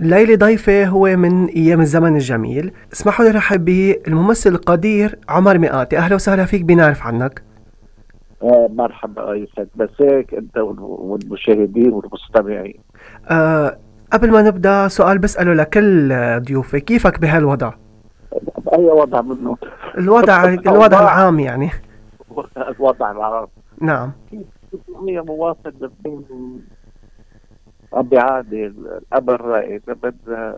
ليلي ضيفي هو من ايام الزمن الجميل اسمحوا لي رحب به الممثل القدير عمر مئاتي اهلا وسهلا فيك بنعرف عنك آه، مرحبا يسعد مساك انت وال- والمشاهدين والمستمعين أه قبل ما نبدا سؤال بساله لكل آه، ضيوفي كيفك بهالوضع باي وضع منه الوضع الوضع العام يعني الوضع العرب نعم هي مواصل بين ابي عادل الاب الرائد بدنا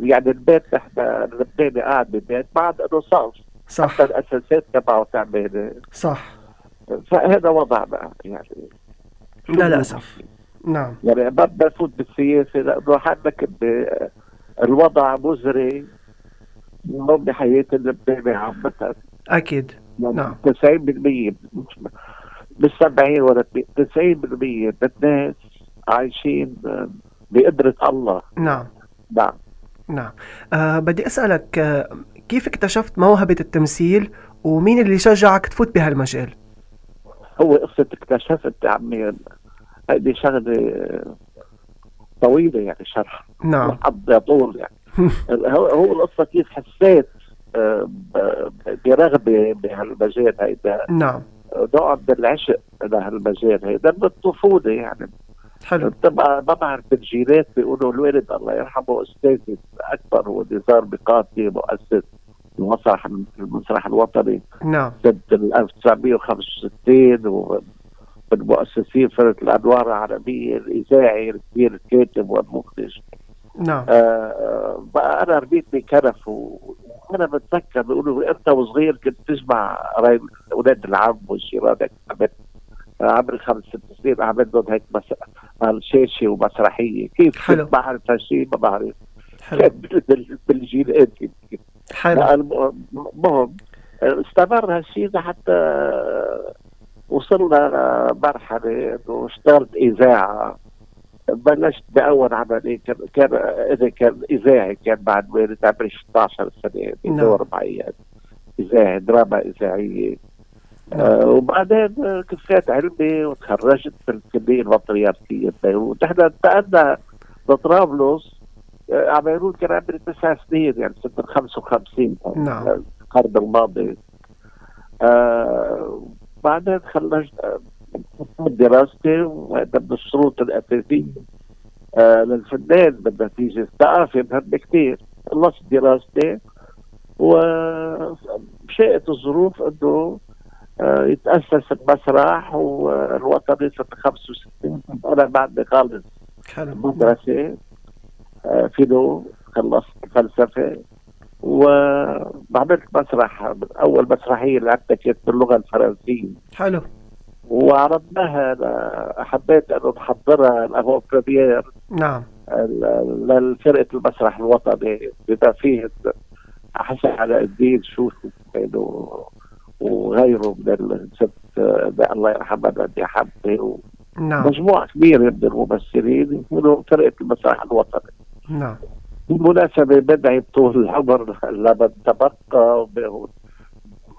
يعني البيت نحن اللبناني قاعد بالبيت ما عاد له صرف صح حتى الاساسات تبعه تعبانه صح فهذا وضعنا يعني شو للاسف نعم يعني ما بدنا نفوت بالسياسه لانه حدك ب- الوضع مزري مو بحياه اللبناني عامه اكيد نعم. 90% يعني مش مش 70 ولا 90% من الناس عايشين آه، بقدرة الله نعم نعم نعم أه بدي اسالك آه، كيف اكتشفت موهبه التمثيل ومين اللي شجعك تفوت بهالمجال هو قصة اكتشفت يا عمي هذه شغلة طويلة يعني شرح نعم حد طول يعني هو هو القصة كيف حسيت آه، ب- برغبة بهالمجال هيدا نعم نوع من العشق لهالمجال هيدا من الطفولة يعني حلو طبعا ما بعرف الجيلات بيقولوا الوالد الله يرحمه استاذي اكبر هو نزار بقاتي مؤسس المسرح المسرح الوطني نعم سنه ال 1965 ومن مؤسسين فرقه الانوار العربيه الاذاعي الكبير الكاتب والمخرج نعم آه، بقى انا ربيت بكنف و- وانا بتذكر بيقولوا انت وصغير كنت تجمع قرايب اولاد العم والجيرانك عملت عمري خمس ست سنين عملت لهم هيك مس... على الشاشه ومسرحيه كيف حلو. كنت بعرف هالشيء ما بعرف حلو كان بال- بالجيل قديم حلو بقى الم- المهم استمر هالشيء لحتى وصلنا لمرحلة انه اشتغلت اذاعة بلشت باول عملية كان كان اذا كان اذاعي كان بعد والد عمري 16 سنة نعم. بدور معي اذاعي دراما اذاعية نعم. آه وبعدين آه، كفيت علمي وتخرجت في الكلية البطريركية ببيروت نحن انتقلنا لطرابلس آه، على بيروت كان عمري تسع سنين يعني سنة 55 نعم. آه، القرن الماضي آه بعدين خلصت آه، دراستي وهذا من الشروط الاساسيه آه للفنان بالنتيجه الثقافه مهم كثير خلصت دراستي وشاءت الظروف انه آه، يتاسس المسرح والوطني سنه 65 انا بعد خالص حلو مدرسة آه، فيلو خلصت فلسفة وعملت مسرح أول مسرحية اللي عملتها كانت باللغة الفرنسية حلو وعرضناها ل- حبيت أنه نحضرها لأفون بريمير نعم ال- لفرقة المسرح الوطني بما فيه حسن علاء الدين شوشو و- وغيره من الست آه، الله يرحمها نادية حمدي نعم ومجموعة كبيرة من الممثلين يكونوا فرقة المسرح الوطني نعم بالمناسبة بدعي طول العمر لما تبقى ب-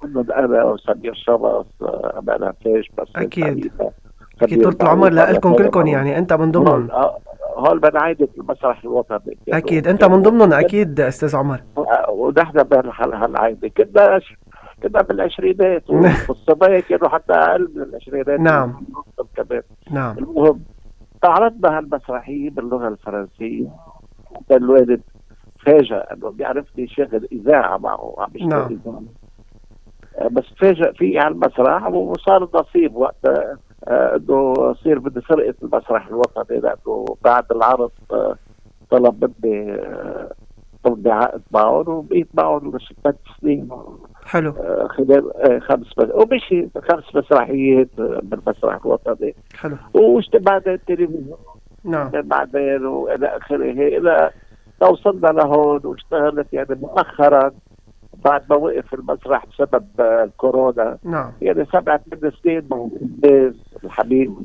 ضمن انا وسمير شرف امانة فيش بس أكيد. اكيد طول العمر لكم كلكم يعني انت من نعم. ضمنهم آه، هول من عائلة المسرح الوطني آه، اكيد انت من ضمنهم اكيد استاذ عمر ونحن بهالعائلة كنا أش- كنا بالعشرينات والصبايا كانوا حتى اقل من العشرينات نعم. كمان نعم المهم تعرضنا هالمسرحية باللغة الفرنسية حتى الوالد فاجأ انه بيعرفني شغل اذاعة معه عم يشتغل نعم. إذاعة. آه، بس فاجأ فيه على المسرح وصار نصيب وقتها آه، انه صير بدي فرقة المسرح الوطني لانه بعد العرض آه، طلب مني آه، طلب عقد معهم وبقيت معهم لش- ثلاث سنين حلو آه، خلال آه، خمس مس- ومشي خمس مسرحيات آه، بالمسرح الوطني حلو واجتمعنا التلفزيون نعم بعدين والى اخره الى توصلنا لهون واشتغلت يعني مؤخرا بعد ما وقف المسرح بسبب آه، الكورونا نعم يعني سبعة ثمان سنين مع الباز الحبيب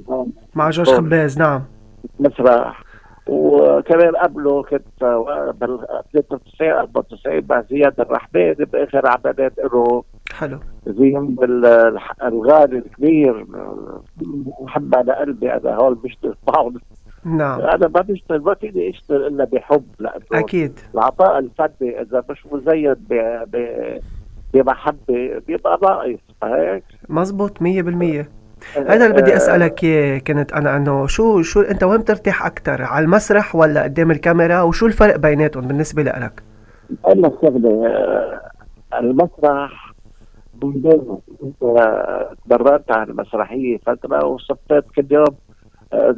مع جورج طول. خباز نعم مسرح وكمان قبله كنت آه، بال 93 94 مع زياد الرحمن باخر عمليات له حلو زين بالغالي الكبير محب على قلبي انا هول بشتغل طاولة نعم انا ما بشتغل ما فيني اشتغل الا بحب لانه اكيد العطاء الفني اذا مش مزين ب- ب- بمحبه بيبقى ناقص فهيك مزبوط 100% هذا اللي آه، بدي اسالك إياه كنت انا انه شو شو انت وين بترتاح اكثر على المسرح ولا قدام الكاميرا وشو الفرق بيناتهم بالنسبه لك اقول لك شغله آه، المسرح بيداوم انت آه، تمرنت على المسرحيه فتره وصفيت كل يوم آه،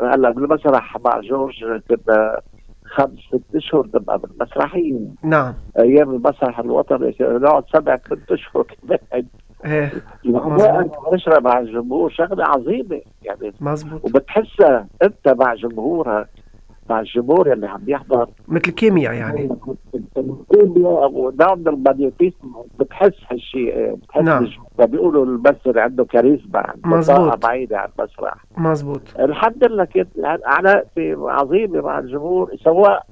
هلا بالمسرح مع جورج كنا خمس ست اشهر نبقى بالمسرحيه نعم ايام المسرح الوطني نقعد سبع ثمان اشهر كمان ايه الأجواء نشرب مع الجمهور شغله عظيمه يعني مزبوط وبتحسها انت مع جمهورك مع الجمهور اللي عم يحضر مثل كيمياء يعني الكيمياء او داون المغناطيسم نعم بتحس هالشيء بتحس نعم. الج- بيقولوا الممثل عنده كاريزما عنده مزبوط. طاقه بعيده عن المسرح مزبوط الحمد لله يعني كانت علاقتي عظيمه مع الجمهور سواء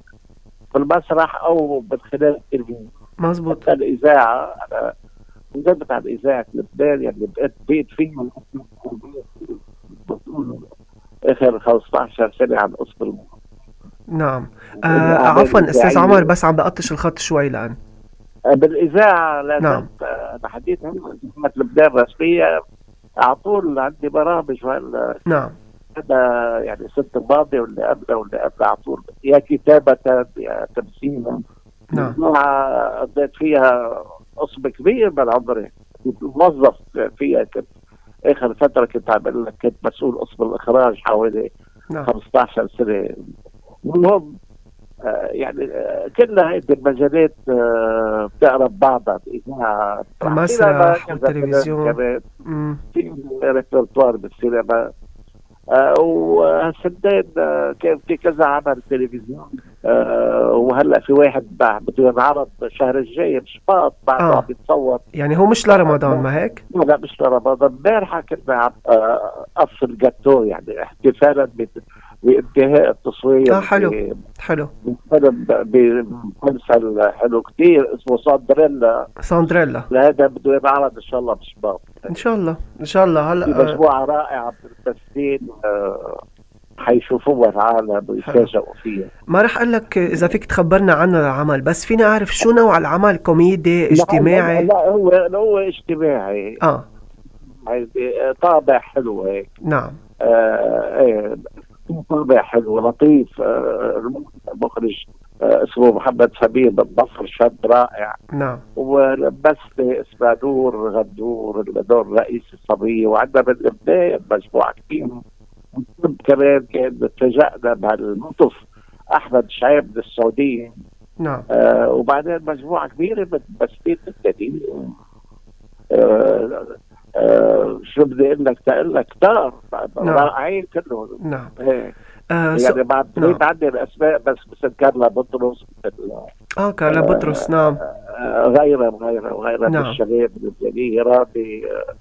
في المسرح او من خلال التلفزيون مزبوط حتى الاذاعه انا انجبت عن اذاعه لبنان يعني بقيت بيت فيهم اخر 15 سنه عن آه، قصه نعم آه عفوا يعني استاذ عمر بس عم بقطش الخط شوي لان آه، بالاذاعه لازم نعم. نعم. تحديدا انتخابات لبنان رسميه على طول عندي برامج وهلا نعم هذا يعني الست الماضيه واللي قبلها واللي قبلها على طول يا كتابه يا تمثيلا نعم مع- قضيت فيها قصب كبير من عمري كنت موظف فيها كنت اخر فتره كنت عامل لك كنت مسؤول قصب الاخراج حوالي نعم 15 سنه المهم آه، يعني آه، كل هيدي المجالات آه، بتقرب بعضها الاذاعه المسرح كذا- كذا والتلفزيون. كمان مم. في ريبرتوار بالسينما آه، وهالسنتين آه، كان في كذا عمل تلفزيون آه، وهلا في واحد بع- بده ينعرض الشهر الجاي بشباط آه. بعده عم يتصور يعني هو مش لرمضان ما هيك؟ لا مش لرمضان امبارحه كنا عم آه، افصل جاتو يعني احتفالا ب- بانتهاء التصوير آه، حلو. في- حلو فيلم بمسلسل حلو كتير اسمه ساندريلا ساندريلا لهذا بده ينعرض ان شاء الله بشباط ان شاء الله ان شاء الله في هلا آه، مجموعه رائعه من الممثلين آه، حيشوفوها العالم ويتفاجئوا فيها ما رح اقول لك آه، اذا فيك تخبرنا عن العمل بس فيني اعرف شو نوع العمل نعم، كوميدي اجتماعي لا لا، هو هو اجتماعي اه يعني طابع حلو هيك نعم آه، ايه طابع حلو لطيف آه، المخرج آه، اسمه محمد سمير من مصر شاب رائع نعم وبمثلة اسمها نور غدور اللي دور رئيس الصبية وعندنا من لبنان مجموعة كبيرة والطب كمان كان تفاجئنا بهالموقف احمد شعيب من السعودية نعم آه وبعدين مجموعة كبيرة من ممثلين لبنانيين آه آه شو بدي اقول لك تقول لك كتار نعم. رائعين كلهم نعم هيك آه, سو... يعني بعد نعم. عندي الاسماء بس مثل كارلا بطرس مثل اه كارلا بطرس نعم غيره وغيره وغيره نعم. نعم. الشباب اللبنانيه رامي آه،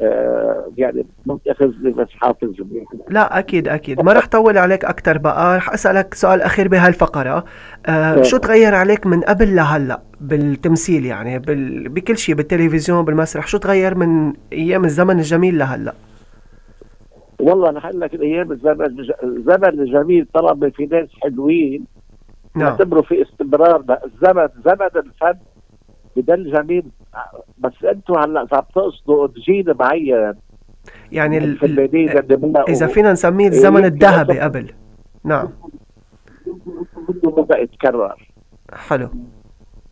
آه، يعني متاخذني بس حافظ لا اكيد اكيد ما رح طول عليك اكثر بقى رح اسالك سؤال اخير بهالفقره آه طيب. شو تغير عليك من قبل لهلا بالتمثيل يعني بال... بكل شيء بالتلفزيون بالمسرح شو تغير من ايام الزمن الجميل لهلا والله انا هقول لك الايام الزمن الزمن الجميل طلب في ناس حلوين نعم يعتبروا في استمرار بقى. الزمن زمن الفن بده الجميل بس انتوا هلا اذا عم تقصدوا جيل معين يعني من ال... الفنانين اللي بدنا اذا فينا نسميه الزمن الذهبي قبل نعم بدا يتكرر حلو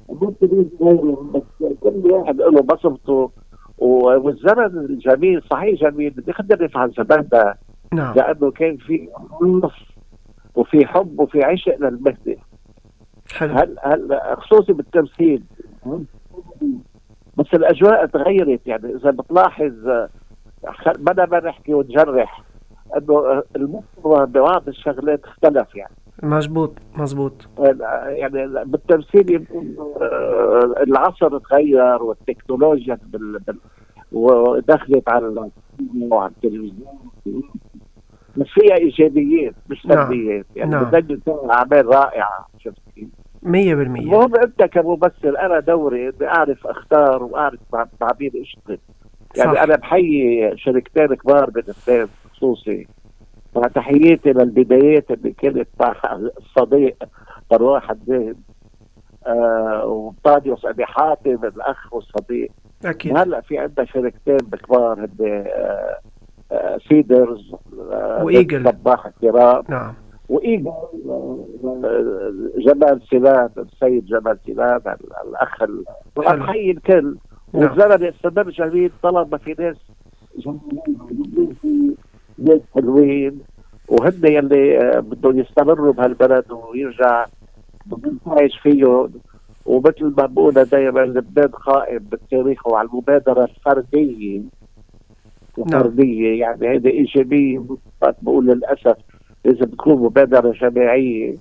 ممكن يزدهر، بس كل واحد له بصمته و- والزمن الجميل صحيح جميل بدي اختلف عن زماننا نعم لانه كان في نص وفي حب وفي عشق للمهنه حلو هل هل خصوصي بالتمثيل بس الاجواء تغيرت يعني اذا بتلاحظ آه، خ- بدنا ما نحكي ونجرح انه آه، المستوى ببعض الشغلات اختلف يعني مزبوط مزبوط يعني بالتمثيل يمكن، آه، العصر تغير والتكنولوجيا بال... بال... ودخلت على ال- وعلى التلفزيون بس فيها ايجابيات مش نعم. سلبيات يعني نعم. نعم. اعمال رائعه شفت كيف؟ مية بالمية المهم انت كممثل انا دوري اني اعرف اختار واعرف مع مع مين اشتغل يعني صح. انا بحيي شركتين كبار من الاثنين خصوصي فتحياتي للبدايات اللي كانت مع الصديق مروان حداد آه وطاديوس ابي حاتم الاخ والصديق أكيد هلا في عندنا شركتين كبار هن آه، آه، سيدرز آه، وإيجل. صباح الكرام نعم وايجل جمال سلام السيد جمال سلام ال- الاخ ال- حلو. حي الكل نعم. والزلمه استمر جميل طالما في ناس جميلين موجودين في ناس حلوين وهن يلي آه، بدهم يستمروا بهالبلد ويرجع بدهم يعيش فيه ومثل ما بقولها دائما لبنان قائم بالتاريخ وعلى المبادره الفرديه الفرديه يعني هذا ايجابيه بس بقول للاسف لازم تكون مبادره جماعيه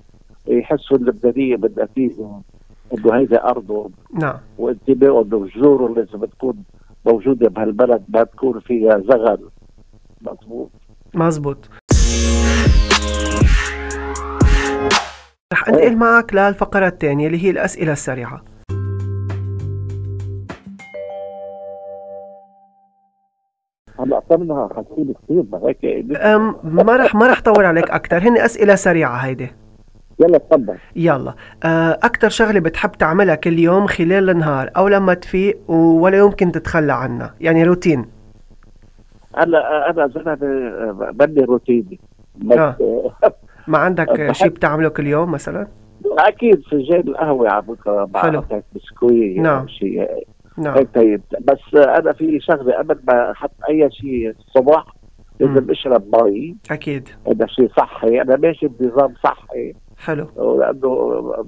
يحسوا اللبنانيه بالنتيجه انه هيدا ارضهم نعم وانتمائهم وجذورهم لازم تكون موجوده بهالبلد ما تكون فيها زغل مضبوط مزبوط رح انتقل معك للفقرة الثانية اللي هي الأسئلة السريعة هلا طمنها حكينا كثير ما هيك أم ما رح ما رح طول عليك أكثر هن أسئلة سريعة هيدي يلا تفضل يلا أكثر شغلة بتحب تعملها كل يوم خلال النهار أو لما تفيق ولا يمكن تتخلى عنها يعني روتين انا انا زلمه بدي آه، روتيني بس آه. ما عندك شيء بتعمله كل يوم مثلا اكيد فنجان القهوه على فكره مع حلو. قطعة بسكويت نعم. او شيء نعم هيك طيب بس انا في شغله قبل ما احط اي شيء الصباح مم. لازم اشرب مي أكيد هذا شيء صحي انا ماشي بنظام صحي حلو لانه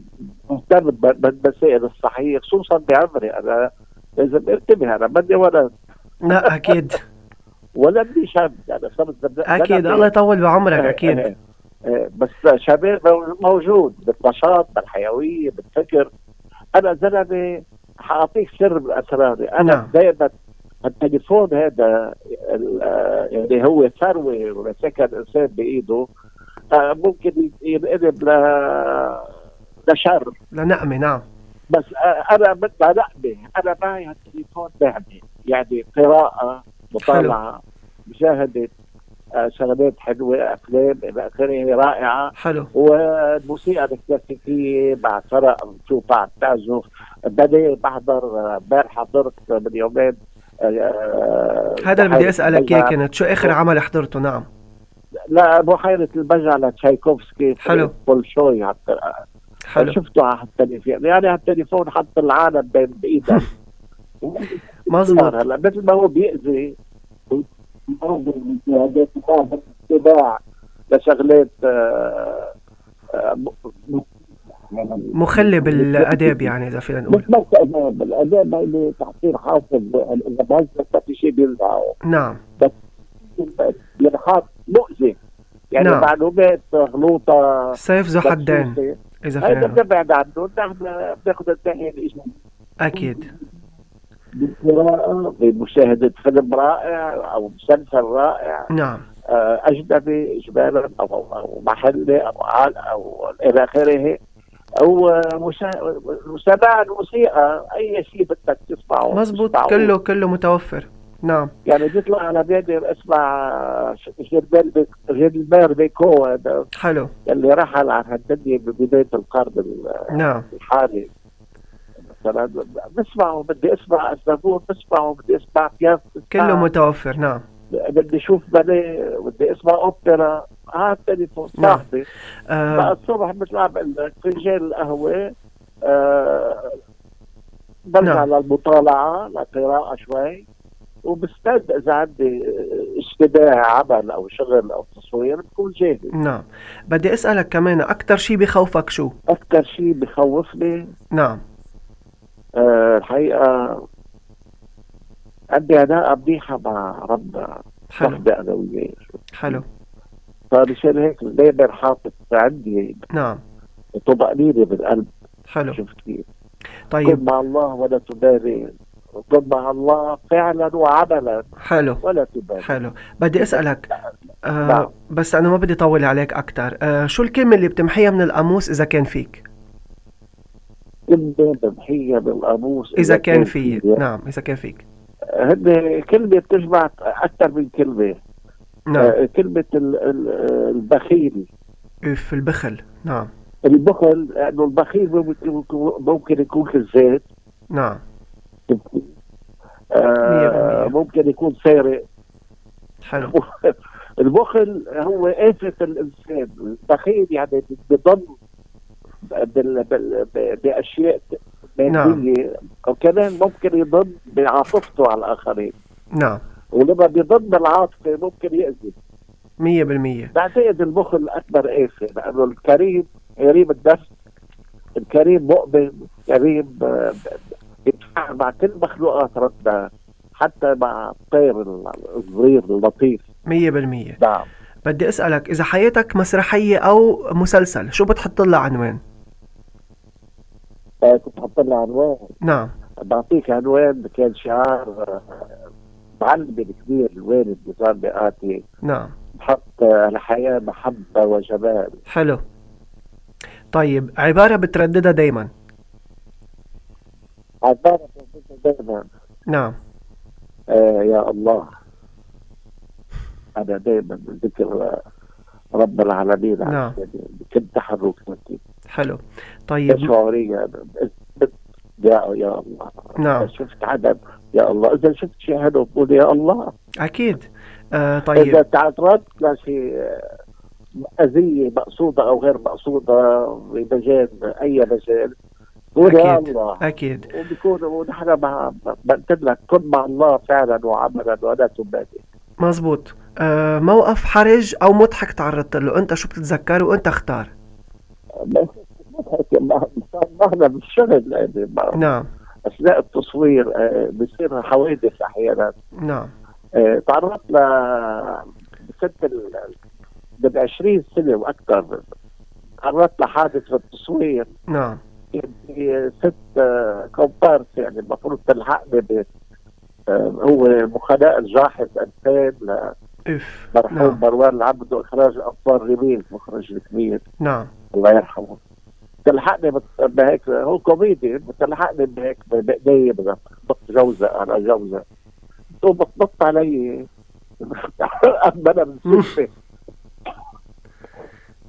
مهتم ب- بالمسائل الصحيه خصوصا بعمري انا لازم انتبه انا بدي ولد لا أكيد ولا بدي شاب انا صرت بدي- أكيد بدي- الله يطول بعمرك إيه، أكيد إيه، إيه، بس شباب مو- موجود بالنشاط بالحيويه بالفكر انا زلمه حاعطيك سر من اسراري انا نعم. نعم. دائما التليفون هذا ال- آه، يعني هو ثروه ومسكها الانسان بايده آه، ممكن ينقلب ل- لشر لنقمة نعم بس آه، انا مثل نقمه انا معي هالتليفون نعمه يعني قراءه مطالعه مشاهده آه، شغلات حلوه افلام الى اخره رائعه حلو والموسيقى الكلاسيكيه مع فرق بشوف بعد تعزف بدي بحضر آه، امبارح حضرت من يومين آه، آه، هذا اللي بدي بحيرة أسألك إياه البجع. كنت شو آخر عمل حضرته نعم لا بحيرة البجع لتشايكوفسكي حلو. بولشوي عالت- حلو شفته على التليفون يعني على التليفون حط العالم بين بايدك مزبوط هلا مثل ما هو بيأذي برضه المشاهدات بعض الاتباع لشغلات آه، آه، م- م- مخلي بالاداب يعني اذا فينا مش نقول بس اداب، الاداب هي تعطيل حافظ اذا بهزك ما في شيء بينفعه نعم بينحط مؤذي يعني نعم. معلومات مغلوطه سيفزو حدين مدسوسة. اذا فينا هيدا نقول بنبعد عنه نعم، نحن بناخذ الناحيه الايجابيه اكيد بالقراءة بمشاهدة فيلم رائع أو مسلسل رائع نعم آه، أجنبي إجمالا أو, أو, أو محلي أو عال أو إلى آخره أو آه، مشا- متابعة الموسيقى أي شيء بدك تسمعه مزبوط تسمعه. كله كله متوفر نعم يعني بيطلع على بيدي اسمع آه، جيلبير بيك- جيلبير بيكو هذا حلو اللي رحل عن هالدنيا ببداية القرن نعم الحالي مثلا بسمعه بدي اسمع أزنافور بسمعه بدي اسمع بياف كله متوفر نعم بدي اشوف باليه بدي اسمع اوبرا هات تليفون نعم. صاحبي بقى آه الصبح مثل ما بقول لك فنجان القهوه آه برجع نعم. للمطالعه للقراءه شوي وبستعد اذا عندي اشتباه عمل او شغل او تصوير بكون جاهز نعم بدي اسالك كمان اكثر شيء بخوفك شو اكثر شيء بخوفني نعم آه الحقيقه عندي علاقه منيحه مع ربنا حلو صاحبي انا وياه حلو فمشان هيك دائما حاطط عندي نعم طمأنينة بالقلب حلو شفت كيف؟ كن طيب مع الله ولا تبالي كن مع الله فعلا وعملا حلو ولا تبالي حلو بدي اسالك نعم. آه بس انا ما بدي طول عليك اكثر آه شو الكلمه اللي بتمحيها من القاموس اذا كان فيك كلمه بمحيه بالقاموس اذا كان في نعم اذا كان فيك هن كلمه بتجمع اكثر من كلمه نعم آه، كلمه ال- ال- البخيل في البخل نعم البخل لانه البخيل ممكن ممكن يكون كذاب نعم مية آه، بالمية. ممكن يكون سارق حلو البخل هو آفة الإنسان البخيل يعني بضل بال... بال... ب- بأشياء مادية وكمان ممكن يضل بعاطفته على الآخرين نعم ولما بيضل بالعاطفة ممكن يأذي مية بالمية بعتقد البخل أكبر آفة لأنه الكريم قريب الدفع الكريم مؤمن كريم آه، بيتفاعل مع كل مخلوقات ربنا حتى مع الطير الصغير اللطيف مية بالمية نعم بدي اسألك إذا حياتك مسرحية أو مسلسل شو بتحط لها عنوان؟ آه، كنت حاطط لها عنوان نعم بعطيك عنوان كان شعار آه، معلم كبير الوالد نظام بقاتي نعم حط آه، الحياة محبة وجمال حلو طيب عبارة بترددها دايما عبارة بتنفذها دائما نعم آه يا الله أنا دائما ذكر آه، رب العالمين نعم. عن جديد. بكل تحرك نتيجة حلو طيب شعورية أنا. بت- يا يا الله نعم إذا شفت عدم يا الله إذا شفت شيء حلو قول يا الله أكيد آه اذا طيب تعرضت لشيء اذيه مقصوده او غير مقصوده بمجال اي مجال قول يا أكيد. الله أكيد وبكون ونحن مع بقول لك كن مع الله فعلا وعملا ولا تبادر مزبوط آه موقف حرج أو مضحك تعرضت له أنت شو بتتذكر وأنت اختار بس نحن بالشغل يعني مع- نعم اثناء التصوير آه، بصير حوادث احيانا نعم آه، تعرضت ل بست ال- من 20 سنه واكثر تعرضت لحادث في التصوير نعم كان في ست آه، كومبارس يعني المفروض تلحقني ب آه، هو مخناق الجاحظ انسان اف مرحوم نعم مروان العبد اخراج اطفال ريميل مخرج الكبير نعم الله يرحمه تلحقني بت- بهيك هو كوميدي تلحقني بهيك بايدي بخبط جوزه على جوزه تو بتنط علي اما انا بالسلفه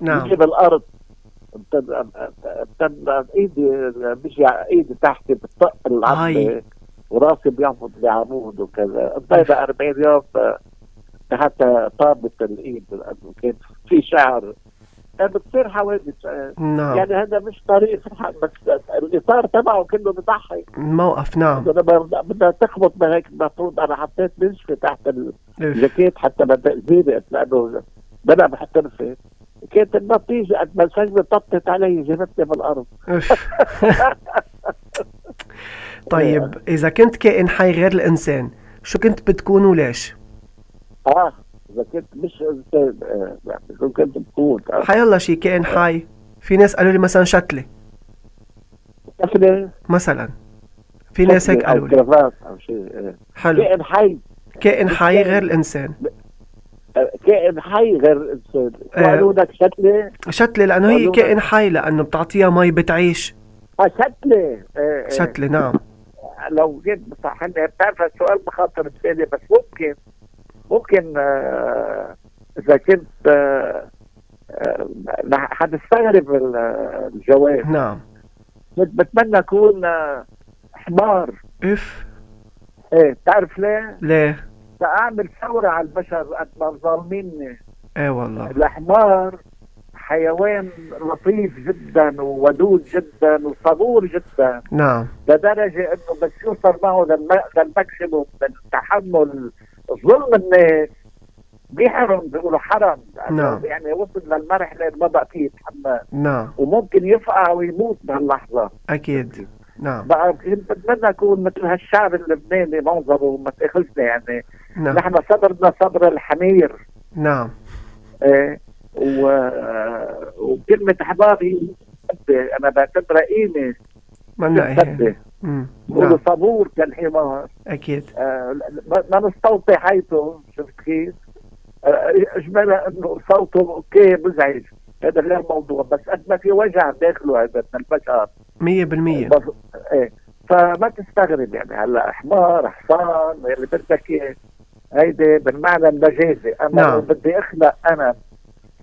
نعم بيجي بالارض بتن- بتن- ايدي بيجي على ايدي تحت بتطق العظمه هاي. وراسي بينفض بعمود وكذا قضينا 40 يوم آه، حتى طابت الايد لانه كان في شعر آه، بتصير حوادث آه، نعم يعني هذا مش طريق بس الاطار تبعه كله بضحك موقف نعم إنه لما بدها تخبط بهيك المفروض انا حطيت نزفه تحت ال... اف جاكيت حتى ما تأذيني لأنه بدأ بحترفة كانت النتيجة قد ما الفجر طبطت علي جبتني بالأرض اف طيب إذا كنت كائن حي غير الإنسان شو كنت بتكون وليش؟ آه إذا كنت مش إنسان آه، يعني شو كنت بكون آه، حيالله شي كائن حي في ناس قالوا لي مثلا شتلة طفلة مثلا في ناس هيك طفلة أو قالوا لي كرافات أو شيء آه. حلو كائن حي كائن حي غير الإنسان آه، كائن حي غير الإنسان آه. قالوا لك شتلة شتلة لأنه هي كائن حي لأنه بتعطيها مي بتعيش آه شتلة آه، آه. شتلة نعم لو جيت بصح هلا بتعرف السؤال بخاطر بالي بس ممكن ممكن آه، اذا كنت آه، آه، رح- حتستغرب ال- آه، الجواب نعم بت- بتمنى اكون آه، حمار اف ايه بتعرف ليه؟ ليه ساعمل ثوره على البشر قد ما ظالميني ايه والله الحمار حيوان لطيف جدا وودود جدا وصبور جدا نعم لدرجه انه بس يوصل معه للم- للماكسيموم من تحمل ظلم الناس بيحرم بيقولوا حرم نعم. يعني وصل للمرحله اللي ما بقى فيه يتحمل نعم وممكن يفقع ويموت بهاللحظه اكيد نعم بقى كنت بتمنى اكون مثل هالشعب اللبناني منظره ما تاخذنا يعني نعم نحن صبرنا صبر الحمير نعم ايه و... وكلمه حمار هي مهمة. انا بعتبرها قيمه منا ايه مهمة. أمم، بيقولوا نعم صبور كالحمار اكيد آه، ما ما نستوطي حيثه شفت كيف؟ آه، اجمالا انه صوته اوكي مزعج هذا غير موضوع بس قد ما في وجع داخله هذا من البشر مية بالمية بس- إيه. فما تستغرب يعني هلا حمار حصان اللي بدك اياه هيدي بالمعنى المجازي اما نعم. نعم. بدي اخلق انا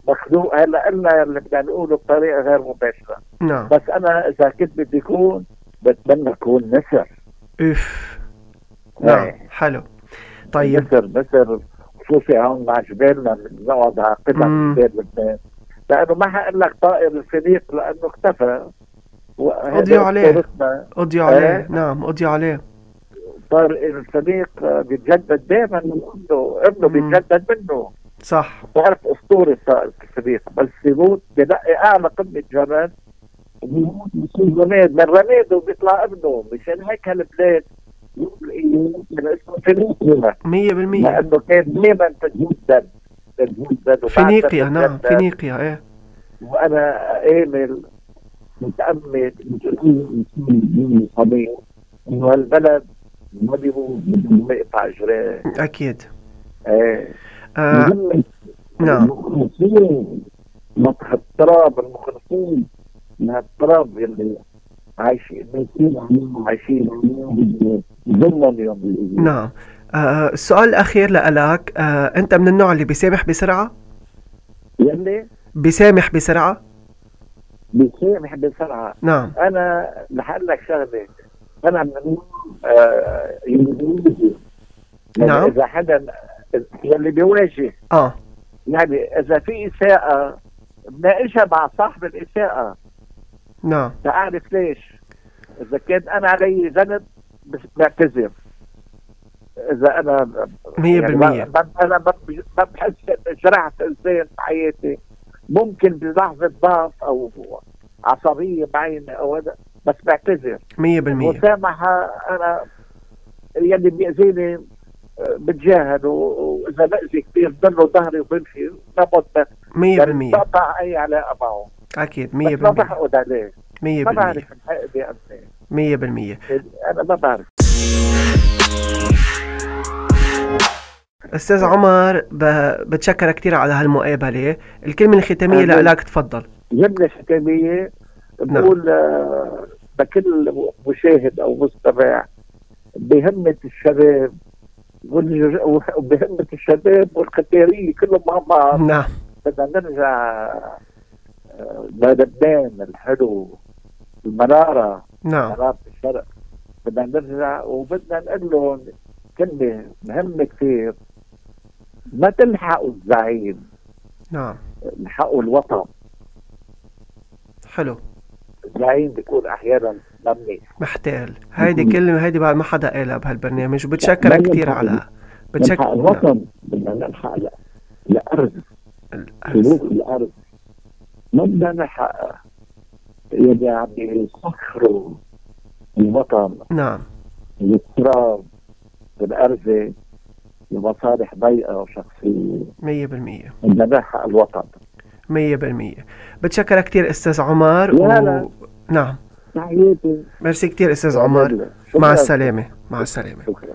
مخلوق هلا قلنا اللي بدنا نقوله بطريقه غير مباشره نعم بس انا اذا كنت بدي اكون بتمنى اكون نسر اوف نعم إيه. حلو طيب نسر نسر خصوصي هون مع جبالنا بنقعد على قطع مم. جبال لبنان لانه ما حقول لك طائر الفليق لانه اختفى وهذا قضيوا عليه. تراثنا. قضي عليه إيه. نعم قضي عليه صار الفريق بيتجدد دائما من ابنه، ابنه مم. بيتجدد منه، صح بتعرف اسطوري صار الفريق بس بيموت بنقي اعلى قمه جبل وبيموت بيصير رماد، من رماده بيطلع ابنه، مشان هيك هالبلاد يمكن اسمه فينيقيا مية بالمية لانه كان دائما تتجدد تتجدد وبعدها فينيقيا نعم تتجدد. فينيقيا ايه وانا امل متامل متأمل من الصميم انه هالبلد ما بيموت بدون ما يقطع اجراه اكيد ايه آه مهم نعم المخلصين مطرح التراب المخلصين من هالتراب اللي عايشين ميتين عليهم عايشين عليهم ظلما يوم الايام نعم آه السؤال الاخير لإلك آه انت من النوع اللي بيسامح بسرعة يلي بيسامح بسرعة بيسامح بسرعه نعم انا رح اقول لك شغله انا من النوع، آه يميزي. يعني نعم. اذا حدا يلي بيواجه اه يعني اذا في اساءه بناقشها مع صاحب الاساءه نعم تعرف ليش اذا كان انا علي ذنب بس بعتذر اذا انا مية بالمية يعني ما- ما- انا ما بج- ما بحس إني جرحت انسان بحياتي ممكن بلحظه ضعف او عصبيه معينه او هذا بس بعتذر مية بالمية المسامحه انا يلي بيأذيني آه، بتجاهله واذا بأذي كثير بضله ظهري وبمشي ما بقعد مية بالمية بقطع اي علاقه معه اكيد يعني بس مية ما بالمية بحقد عليه مية ما بالمية بعرف الحق بأمني مية بالمية انا ما بعرف استاذ عمر ب... بتشكرك كثير على هالمقابلة الكلمة الختامية أهلاً. لإلك تفضل جمله ختاميه نعم. بقول آه، لكل مشاهد او مستمع بهمه الشباب والج- وبهمه الشباب والقتاليه كلهم مع بعض نعم بدنا نرجع آه، للبنان الحلو المناره نعم مناره الشرق بدنا نرجع وبدنا نقول لهم كلمه مهمه كثير ما تلحقوا الزعيم نعم الحقوا الوطن حلو الزعيم بيكون احيانا ممنوع محتال هيدي مهم. كلمة هيدي بعد ما حدا قالها بهالبرنامج وبتشكرك ما كثير ينفع على نعم. نلحق بتشكر الوطن بدنا نلحق ل- الارض سلوك الارض ما بدنا نلحق يلي عم يسخروا الوطن نعم الاضطراب بالارزه لمصالح ضيقه وشخصيه مية بالمية بدنا نلحق الوطن مية بالمية بتشكرك كثير استاذ عمر يا هلا. نعم تحياتي ميرسي كثير استاذ عمر شكراً. مع السلامة مع السلامة شكرا